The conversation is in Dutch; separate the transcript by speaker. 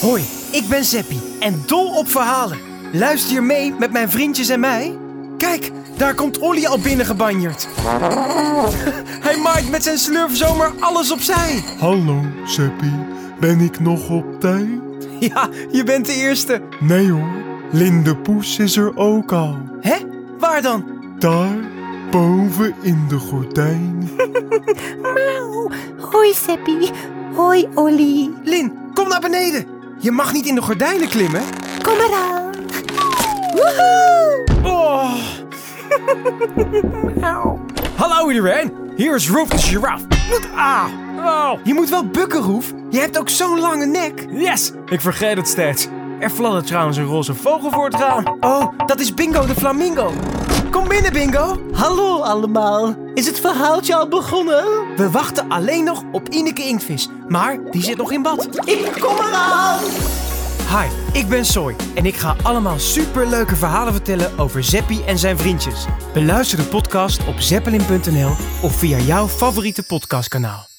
Speaker 1: Hoi, ik ben Zeppie en dol op verhalen. Luister je mee met mijn vriendjes en mij? Kijk, daar komt Olly al binnen gebanjerd. Hij maakt met zijn slurf zomaar alles opzij.
Speaker 2: Hallo, Seppie. Ben ik nog op tijd?
Speaker 1: Ja, je bent de eerste.
Speaker 2: Nee hoor, Linde Poes is er ook al.
Speaker 1: Hè? Waar dan?
Speaker 2: Daar, boven in de gordijn.
Speaker 3: Mauw. Hoi Seppie. Hoi Olly.
Speaker 1: Lin, kom naar beneden. Je mag niet in de gordijnen klimmen.
Speaker 3: Kom eraan. Woehoe.
Speaker 1: Oh. Hallo iedereen, hier is Roef de giraf. Ah. Je moet wel bukken, Roef. Je hebt ook zo'n lange nek.
Speaker 4: Yes, ik vergeet het steeds. Er fladdert trouwens een roze vogel voor het raam.
Speaker 1: Oh, dat is Bingo de Flamingo. Kom binnen, Bingo.
Speaker 5: Hallo allemaal, is het verhaaltje al begonnen?
Speaker 1: We wachten alleen nog op Ineke Inktvis, maar die zit nog in bad.
Speaker 5: Ik kom eraan!
Speaker 1: Hi, ik ben Soy en ik ga allemaal superleuke verhalen vertellen over Zeppie en zijn vriendjes. Beluister de podcast op zeppelin.nl of via jouw favoriete podcastkanaal.